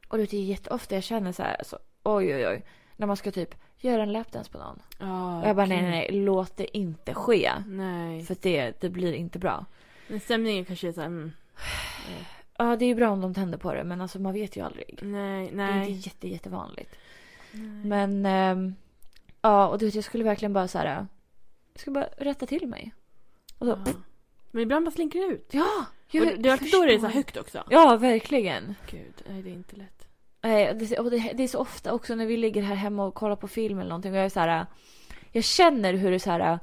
Och det är jätteofta jag känner så här, alltså, oj oj oj. När man ska typ göra en lapdance på någon.
Ja,
Och jag bara nej
okej.
nej nej, låt det inte ske.
Nej.
För att det, det blir inte bra.
Men stämningen kanske är såhär, mm.
Ja, det är ju bra om de tänder på det, men alltså man vet ju aldrig.
nej,
Det är
nej.
inte jätte, jättevanligt.
nej.
Men, ehm, ja, och du vet, jag skulle verkligen bara så här. Jag skulle bara rätta till mig. Och då,
Ja. Men ibland bara slinker det ut.
ja!
Och
jag
det det är alltid då det är så
förstår.
här högt också.
Ja, verkligen.
Gud, nej det är inte lätt.
Eh, det, och det, det är så ofta också när vi ligger här hemma och kollar på film eller någonting och jag är så här. Jag känner hur det så här.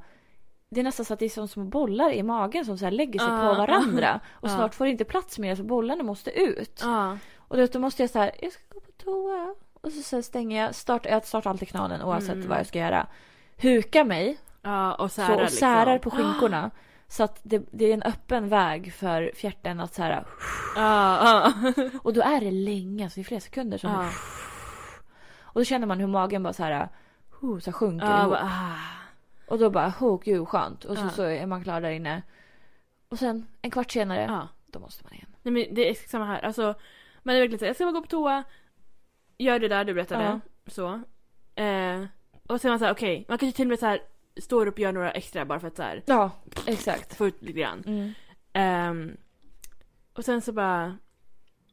Det är nästan så att det är som små bollar i magen som så här lägger sig
Ah.
på varandra. Och
Ah.
snart får det inte plats mer så bollarna måste ut.
Ja.
Och då, då måste jag så här, jag ska gå på toa. Och så, så här stänger jag, startar, jag startar alltid knaden oavsett
Mm.
vad jag ska göra. Huka mig
Ja, och särar
så, och särar
liksom.
på skinkorna. Så att det, det är en öppen väg för fjärten att så här.
Ja, ja.
Och då är det länge, alltså det är flera sekunder som
Ja.
Och då känner man hur magen bara så här, oh, så här sjunker
Ja,
ihop.
bara, ah.
Och då bara, oh, gud skönt. Och så,
Ja.
så är man klar där inne. Och sen en kvart senare,
Ja.
då måste man igen.
Nej men det är samma här. Alltså, man är verkligen såhär, jag ska bara gå på toa. Gör det där du berättade.
Ja.
Så. Eh, och sen är man såhär, okej. Man kanske till och med såhär står upp och gör några extra bara för att såhär
Ja, exakt.
få ut lite grann.
Mm.
Ehm, och sen så bara,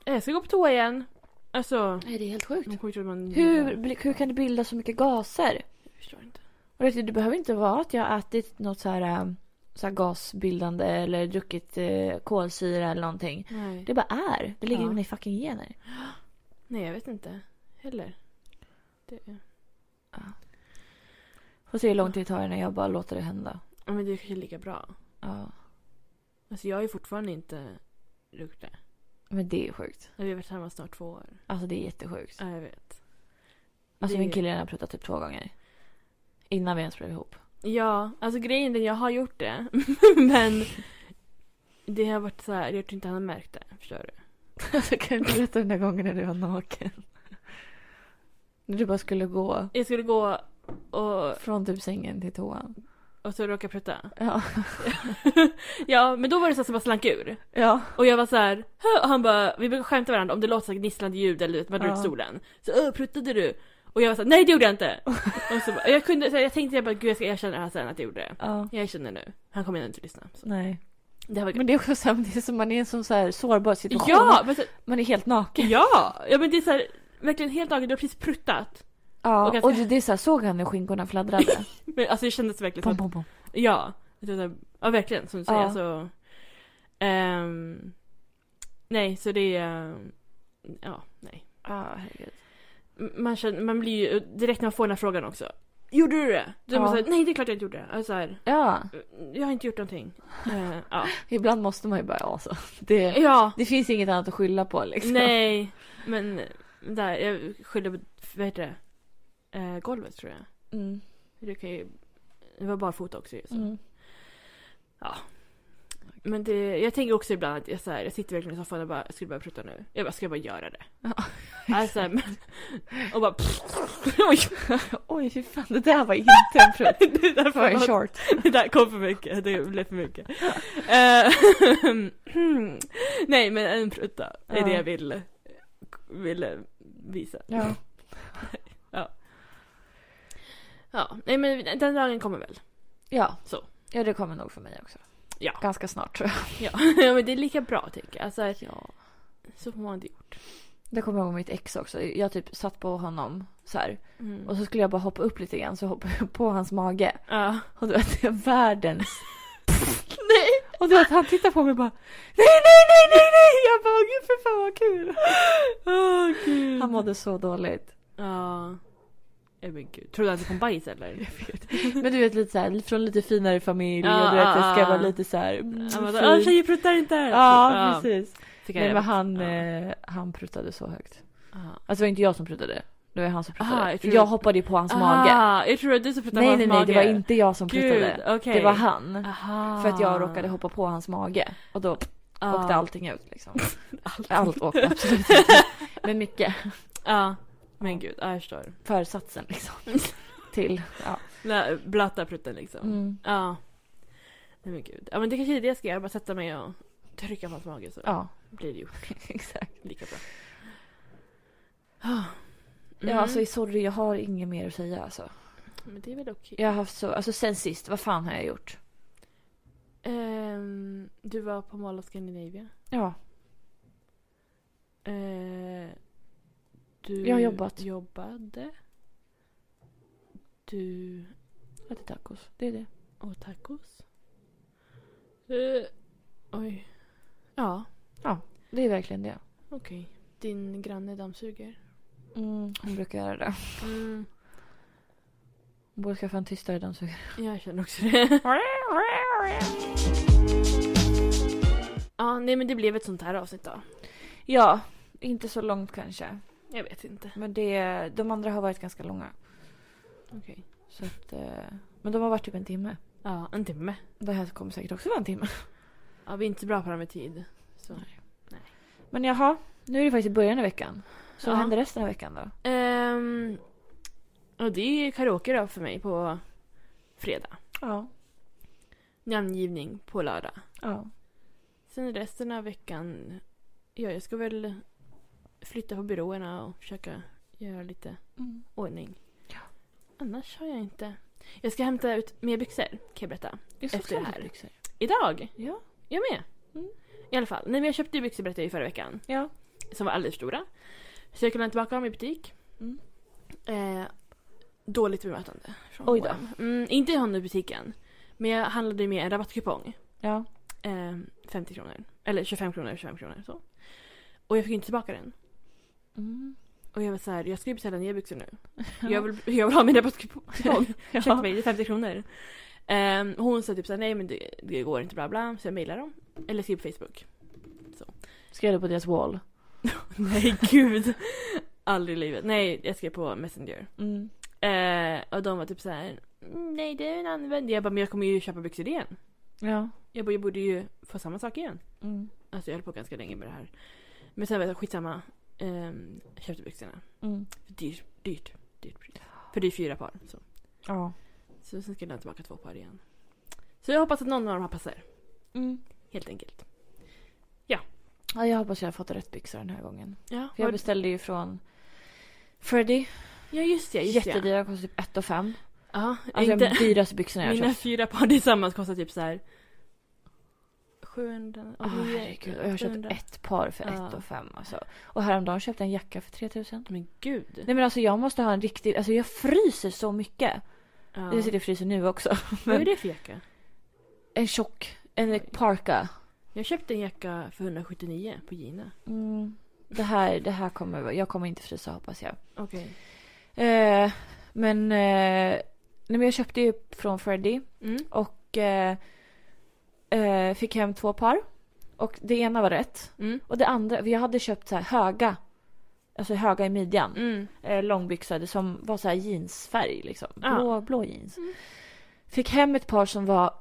eh, jag ska gå på toa igen. Alltså,
Nej, det är helt sjukt.
man kommer inte ihåg man...
Hur, bli- hur kan det bildas så mycket gaser?
Jag förstår inte.
Och det, det behöver inte vara att jag har ätit något så här, ähm, så här gasbildande eller druckit eh, kolsyra eller någonting.
Nej.
Det bara är. Det ligger
Ja.
i mina fucking gener.
Nej, jag vet inte heller. Det...
Får se hur lång tid det tar innan jag bara låter det hända.
Ja, men det är kanske lika bra.
Ja.
Alltså jag är fortfarande inte druckit det. Alltså,
Men det är sjukt.
Vi har varit hemma snart två år.
Alltså det är jättesjukt.
Ja, jag vet.
Alltså
det-
min kille har pruttat typ två gånger. Innan vi ens blev ihop.
Ja, alltså grejen är att jag har gjort det. men det har varit så här, jag tror inte han har märkt det. Förstår du?
jag kan inte berätta den där gången när du var naken. När du bara skulle gå
Jag skulle gå och,
från typ sängen till toan.
och så råkade jag prutta.
Ja.
ja, men då var det så här som bara slank ur.
Ja.
Och jag var så här, "Hö?" och han bara, vi brukar skämta varandra om det låter så här gnisslande ljud eller du vet, man drar ut
Ja.
stolen. Så "Ö, pruttade du? Och jag var så här, nej det gjorde jag inte! och så bara, jag, kunde, så här, jag tänkte jag bara, gud jag ska erkänna det här sen att jag gjorde det.
Ja.
Jag erkänner nu. Han kommer ändå inte lyssna. Så.
Nej.
Det här var
Men det är också samtidigt som man är i en sån så här sårbar situation.
Ja! Men så,
Man är helt naken.
ja! ja men det är så här, verkligen helt naken, du har precis pruttat.
Ja.
Och
Och,
ganska-
det, det är så här, såg han hur skinkorna fladdrade?
Men alltså det kändes verkligen
pom,
som att,
pom, pom.
ja. Det var så här- Ja verkligen som du säger
Ja.
så. Ehm, nej så det är, ehm, ja nej.
Ja, herregud.
man, känner, man blir ju direkt när man får den här frågan också. Gjorde du det? Då är man
Ja.
såhär, nej det är klart jag inte gjorde det. Alltså, så här,
Ja.
jag har inte gjort någonting. Eh, ja.
Ibland måste man ju bara, ja så. Det,
ja,
det finns inget annat att skylla på liksom.
nej. Men där, jag skyller på, vad heter det? Eh, golvet tror jag.
Mm.
Det, kan ju, det var barfota också ju, så.
Mm.
Men det, jag tänker också ibland att jag, så här, jag sitter verkligen i soffan och bara, jag skulle bara prutta nu. Jag bara, ska jag bara göra det?
Ja.
Alltså, men, och bara, oj,
Oj, fy fan. Det där var inte en prutt.
det där
Det var en
var-
short.
Det där kom för mycket, det blev för mycket. Eh, nej men en prutta är
Ja.
det jag vill, ville visa.
Ja.
Ja, nej men den dagen kommer väl.
Ja.
Så.
ja, det kommer nog för mig också.
Ja.
Ganska snart tror jag.
Ja, ja men det är lika bra tänker jag. Alltså,
Ja.
så får man det gjort.
Det kommer jag ihåg mitt ex också. Jag typ satt på honom så här.
Mm.
Och så skulle jag bara hoppa upp lite grann så hoppade jag på hans mage.
Ja.
Och du vet, världens...
Nej!
Och du vet, han tittar på mig och bara Nej, nej, nej, nej, nej! Jag bara, "Åh, gud för fan vad kul!
Åh gud.
Han mådde så dåligt.
Ja. Nej men gud. Tror du att det kom bajs eller?
Men du vet, lite så här, från lite finare familj
Ja,
och du vet, det
ja, ja.
ska vara lite så här... mm,
Han bara,
fint.
"Åh, tjejer pruttar inte!
Ja, precis.
Fick jag
Nej,
reda
men
på.
han,
Ja.
eh, han prutade så högt.
Ja.
Alltså det var inte jag som pruttade. Det var han som pruttade.
Aha, jag
jag,
tror-
hoppade ju på hans
Ah,
mage.
Jag tror att du som pruttade på
Nej,
hans
nej, nej.
mage.
Det var inte jag som pruttade.
Gud, okej. Ah.
Det var han.
Aha. Ah.
För att jag råkade hoppa på hans mage. Och då
Ja.
åkte allting ut liksom. Allt åkte absolut ut. Men mycket.
Ja, men gud, ja, jag förstår.
Försatsen liksom. Till. Ja.
Den där blöta prutten liksom.
Mm.
Ja. Nej men gud. Ja men det kanske är det jag ska göra, bara sätta mig och trycka på hans mage så
ja,
blir det gjort
exakt.
lika bra. Ah. Mm.
Ja, alltså sorry jag har inget mer att säga alltså.
Men det är väl okej.
Jag har haft så, alltså sen sist, vad fan har jag gjort?
Ehm, du var på Mall of Scandinavia.
Ja,
Ehm, du
Jag har jobbat.
jobbade. Du
jag äter tacos. Det är det.
åt tacos. Eh, oj. Ja.
Det är verkligen det.
Okej. Din granne dammsuger.
Mm, hon brukar göra det.
Mm,
Hon borde skaffa en tystare dammsugare.
jag känner också det. Ja, nej men det blev ett sånt här avsnitt då.
Ja, inte så långt kanske.
Jag vet inte.
Men det, de andra har varit ganska långa.
Okej.
Så att, eh, men de har varit typ en timme.
Ja, en timme.
Det här kommer säkert också vara en timme.
Ja, vi är inte så bra på det här med tid. Så.
Men jaha, nu är det faktiskt början av veckan. Så
Ja.
vad händer resten av veckan då?
Ehm, och det är karaoke då för mig på fredag.
Ja.
Namngivning på lördag.
Ja.
Sen resten av veckan, ja jag ska väl flytta på byråerna och försöka göra lite
Mm.
ordning.
Ja.
Annars har jag inte. Jag ska hämta ut mer byxor kan jag berätta.
Jag ska
Efter det
också ha
här.
byxor.
Idag!
Ja.
Jag med.
Mm.
I alla fall. Nej men jag köpte ju byxor berättade jag ju förra veckan.
Ja.
Som var alldeles för stora. Så jag kunde tillbaka dem i butik.
Mm.
Eh, dåligt bemötande. från
Oj då.
H&M. Mm, inte i honom i butiken. Men jag handlade ju med en rabattkupong.
Ja.
Eh, 50 kronor. Eller 25 kronor, 25 kronor. Så. Och jag fick inte tillbaka den.
Mm.
Och jag var så här, jag ska ju beställa nya byxor nu. Jag, vill, jag vill ha min rabattkupong. Ursäkta mig, det är 50 kronor. Ehm, hon sa typ såhär, nej men det, det går inte bla bla. Så jag mejlar dem. Eller skrev på Facebook.
Skrev du på deras wall?
Nej gud. Aldrig i livet. Nej, jag skrev på Messenger.
Mm.
Ehm, och de var typ såhär, "Mm, nej det är en använd. Jag bara, men jag kommer ju köpa byxor igen.
Ja.
Jag bara, jag borde ju få samma sak igen.
Mm.
Alltså jag höll på ganska länge med det här. Men sen var jag så, skitsamma. Um, köpte byxorna.
Mm.
Dyrt, dyrt, dyrt. pris. För det är fyra par. Så.
Ja.
Så sen ska jag lämna tillbaka två par igen. Så jag hoppas att någon av de här passar.
Mm.
Helt enkelt.
ja. Jag hoppas jag har fått rätt byxor den här gången.
Ja,
För jag
vad-
beställde ju från Freddy.
ja just det. Just det.
Jättedyra, kostar typ 1 500.
Ja,
Alltså
inte,
de dyraste byxorna jag har
mina
köpt.
fyra par tillsammans kostar typ så här 700...
Åh herregud. Och jag har köpt
800.
ett par för
Ja.
1 500 alltså. Och häromdagen köpte jag en jacka för 3000.
Men gud.
Nej men alltså jag måste ha en riktig, alltså jag fryser så mycket.
Ja.
Jag sitter och fryser nu också.
Vad är det för jacka?
En tjock, en parka.
Jag köpte en jacka för 179 på Gina.
Mm. Det här, det här kommer, jag kommer inte frysa hoppas jag.
Okej.
Eh, men, eh, nej men jag köpte ju från Freddy
Mm.
och eh, eh, fick hem två par. Och det ena var rätt.
Mm.
Och det andra, jag hade köpt så här höga. Alltså höga i midjan.
Mm.
eh, långbyxade som var så här jeansfärg liksom.
Ja.
Blå, blå jeans.
Mm.
Fick hem ett par som var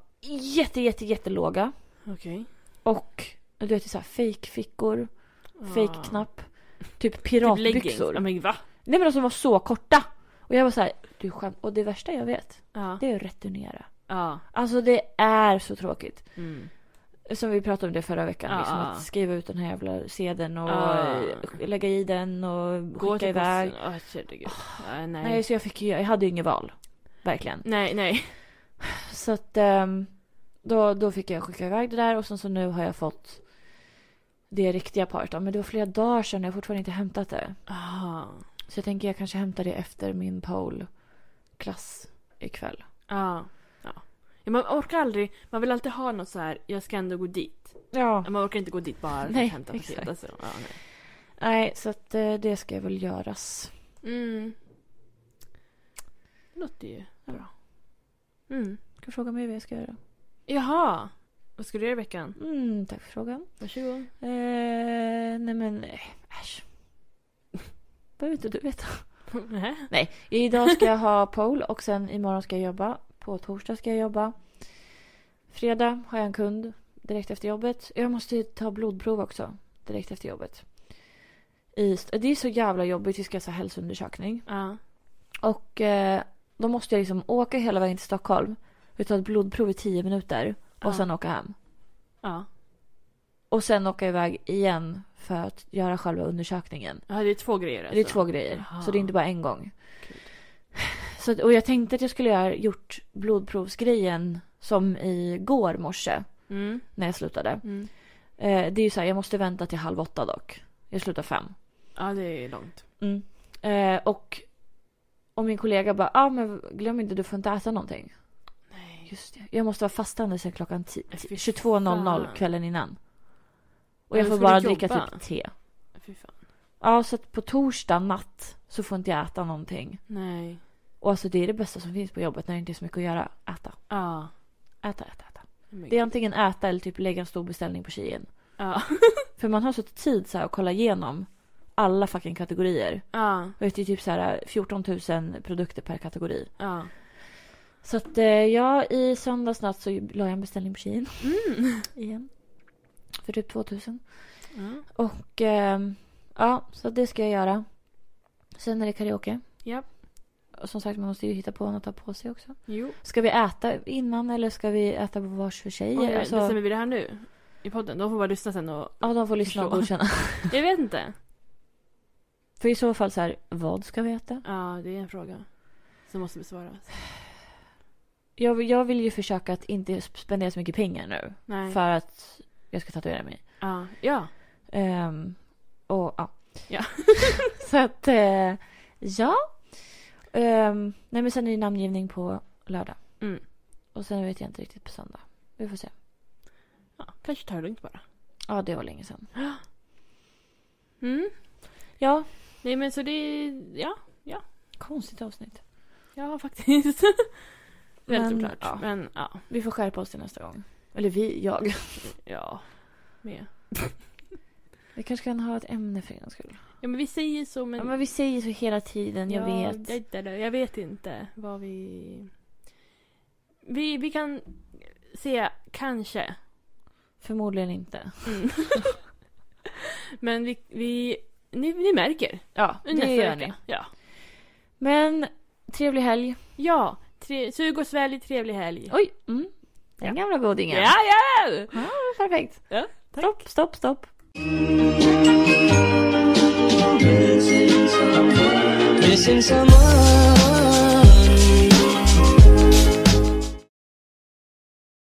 jätte, jätte, jättelåga.
Okej.
Och du vet så här fake fickor, fake knapp. Typ
Ah. Typ leggings.
piratbyxor.
Ja men va?
Nej men de som var så korta. Och jag var så här, du skämt. Och det värsta jag vet,
Ja.
det är att returnera.
Ja.
Alltså det är så tråkigt.
Mm.
Som vi pratade om det förra veckan.
Ja.
Liksom, att skriva ut den här jävla sedeln och
Ja.
eh, lägga i den och
Ah. Gå
skicka
till
iväg. Ah.
posten. Åh, herregud. Ja,
Nej
nej.
så jag fick ju, jag hade ju inget val. Verkligen.
Nej, nej.
Så att ehm, då, då fick jag skicka iväg det där och sen så nu har jag fått det riktiga paret. då. Men det var flera dagar sedan och jag har fortfarande inte hämtat det.
Ah.
Så jag tänker jag kanske hämtar det efter min pole-klass ikväll.
Ja. Ah. ja. Ja, Man orkar aldrig, man vill alltid ha något så här. jag ska ändå gå dit.
Ja.
Ja, Man orkar inte gå dit bara för
Nej,
att hämta
exakt.
paket. Alltså. Ja, nej.
Nej, så att eh, det ska väl göras.
Mm. Det låter ju bra. Mm.
Ska du fråga mig vad jag ska göra?
Jaha! Vad ska du göra i veckan?
Mm, tack för frågan.
Varsågod.
Eh, nej men, eh, äsch. Behöver inte du veta.
Nej.
Nej, idag ska jag ha pool och sen imorgon ska jag jobba. På torsdag ska jag jobba. Fredag har jag en kund direkt efter jobbet. Jag måste ju ta blodprov också direkt efter jobbet. I, det är så jävla jobbigt, vi ska ha hälsoundersökning.
Ja.
Och eh, då måste jag liksom åka hela vägen till Stockholm. Vi tar ett blodprov i tio minuter och
Ja.
sen åka hem.
Ja.
Och sen åka iväg igen för att göra själva undersökningen.
ja, det är två grejer alltså.
Det är två grejer.
Aha.
Så det är inte bara en gång.
Kul.
Så, att- och jag tänkte att jag skulle ha gjort blodprovsgrejen som igår morse
Mm.
när jag slutade.
Mm.
Eh, det är ju så här, jag måste vänta till halv åtta dock. Jag slutar fem.
Ja, det är långt.
Eh, och, och min kollega bara, ah, men glöm inte du får inte äta någonting.
Nej.
Just det. Jag måste vara fastande sen klockan ti-
Fy
ti- 22.00
fan.
kvällen innan. Och
Men
jag får
ska
bara
du
dricka
jobba?
typ te.
Fy fan.
Ja, så att på torsdag natt så får inte jag äta någonting.
Nej.
Och alltså det är det bästa som finns på jobbet när det inte är så mycket att göra. Äta,
Ja.
äta, äta, äta. Det är antingen äta eller typ lägga en stor beställning på Shein.
Ja.
För man har så tid så här att kolla igenom alla fucking kategorier.
Ja.
Och det är typ så här 14 000 produkter per kategori.
Ja.
Så att eh, ja, i söndags natt så la jag en beställning på Shein.
Mm.
Igen. För typ 2000.
Ja.
Och ehm, ja, så det ska jag göra. Sen är det karaoke.
Japp.
Och som sagt, man måste ju hitta på något att ta på sig också.
Jo.
Ska vi äta innan eller ska vi äta vars för sig?
Oj,
alltså,
Bestämmer vi det här nu? I podden? De får bara lyssna sen och...
ja, de får lyssna och
Förstå.
godkänna.
Jag vet inte.
För i så fall så här, vad ska vi äta?
Ja, det är en fråga. Som måste besvaras.
Jag, jag vill ju försöka att inte sp- spendera så mycket pengar nu.
Nej.
För att jag ska tatuera mig.
Ja. Ja.
Ehm, och ja.
Ja.
så att, eh, ja. Ehm, nej men sen är det namngivning på lördag.
Mm.
Och sen vet jag inte riktigt på söndag. Vi får se.
ja. Kanske tar det lugnt bara.
Ja, det var länge sedan.
Mm.
Ja,
Nej men så det... Ja.
konstigt avsnitt.
Ja faktiskt. Väldigt
Men,
oklart.
ja.
Men ja.
Vi får skärpa oss till nästa gång. Eller vi, jag.
Ja. Med.
Vi kanske kan ha ett ämne för en gångs skull.
Ja men vi säger så men...
Ja, men vi säger så hela tiden, jag
Ja,
vet.
det- det- det- Jag vet inte vad vi... Vi, vi kan säga kanske.
Förmodligen inte.
Mm. Men vi... vi ni, ni märker.
Ja,
Nästa
det gör
vecka.
ni.
Ja.
Men, trevlig helg.
ja tre, sug och svälj, trevlig helg.
Oj! Mm. Den gamla godingen.
Ja, ja!
Ja, perfekt.
Ja, tack.
Stopp, stopp, stopp.
Missing someone.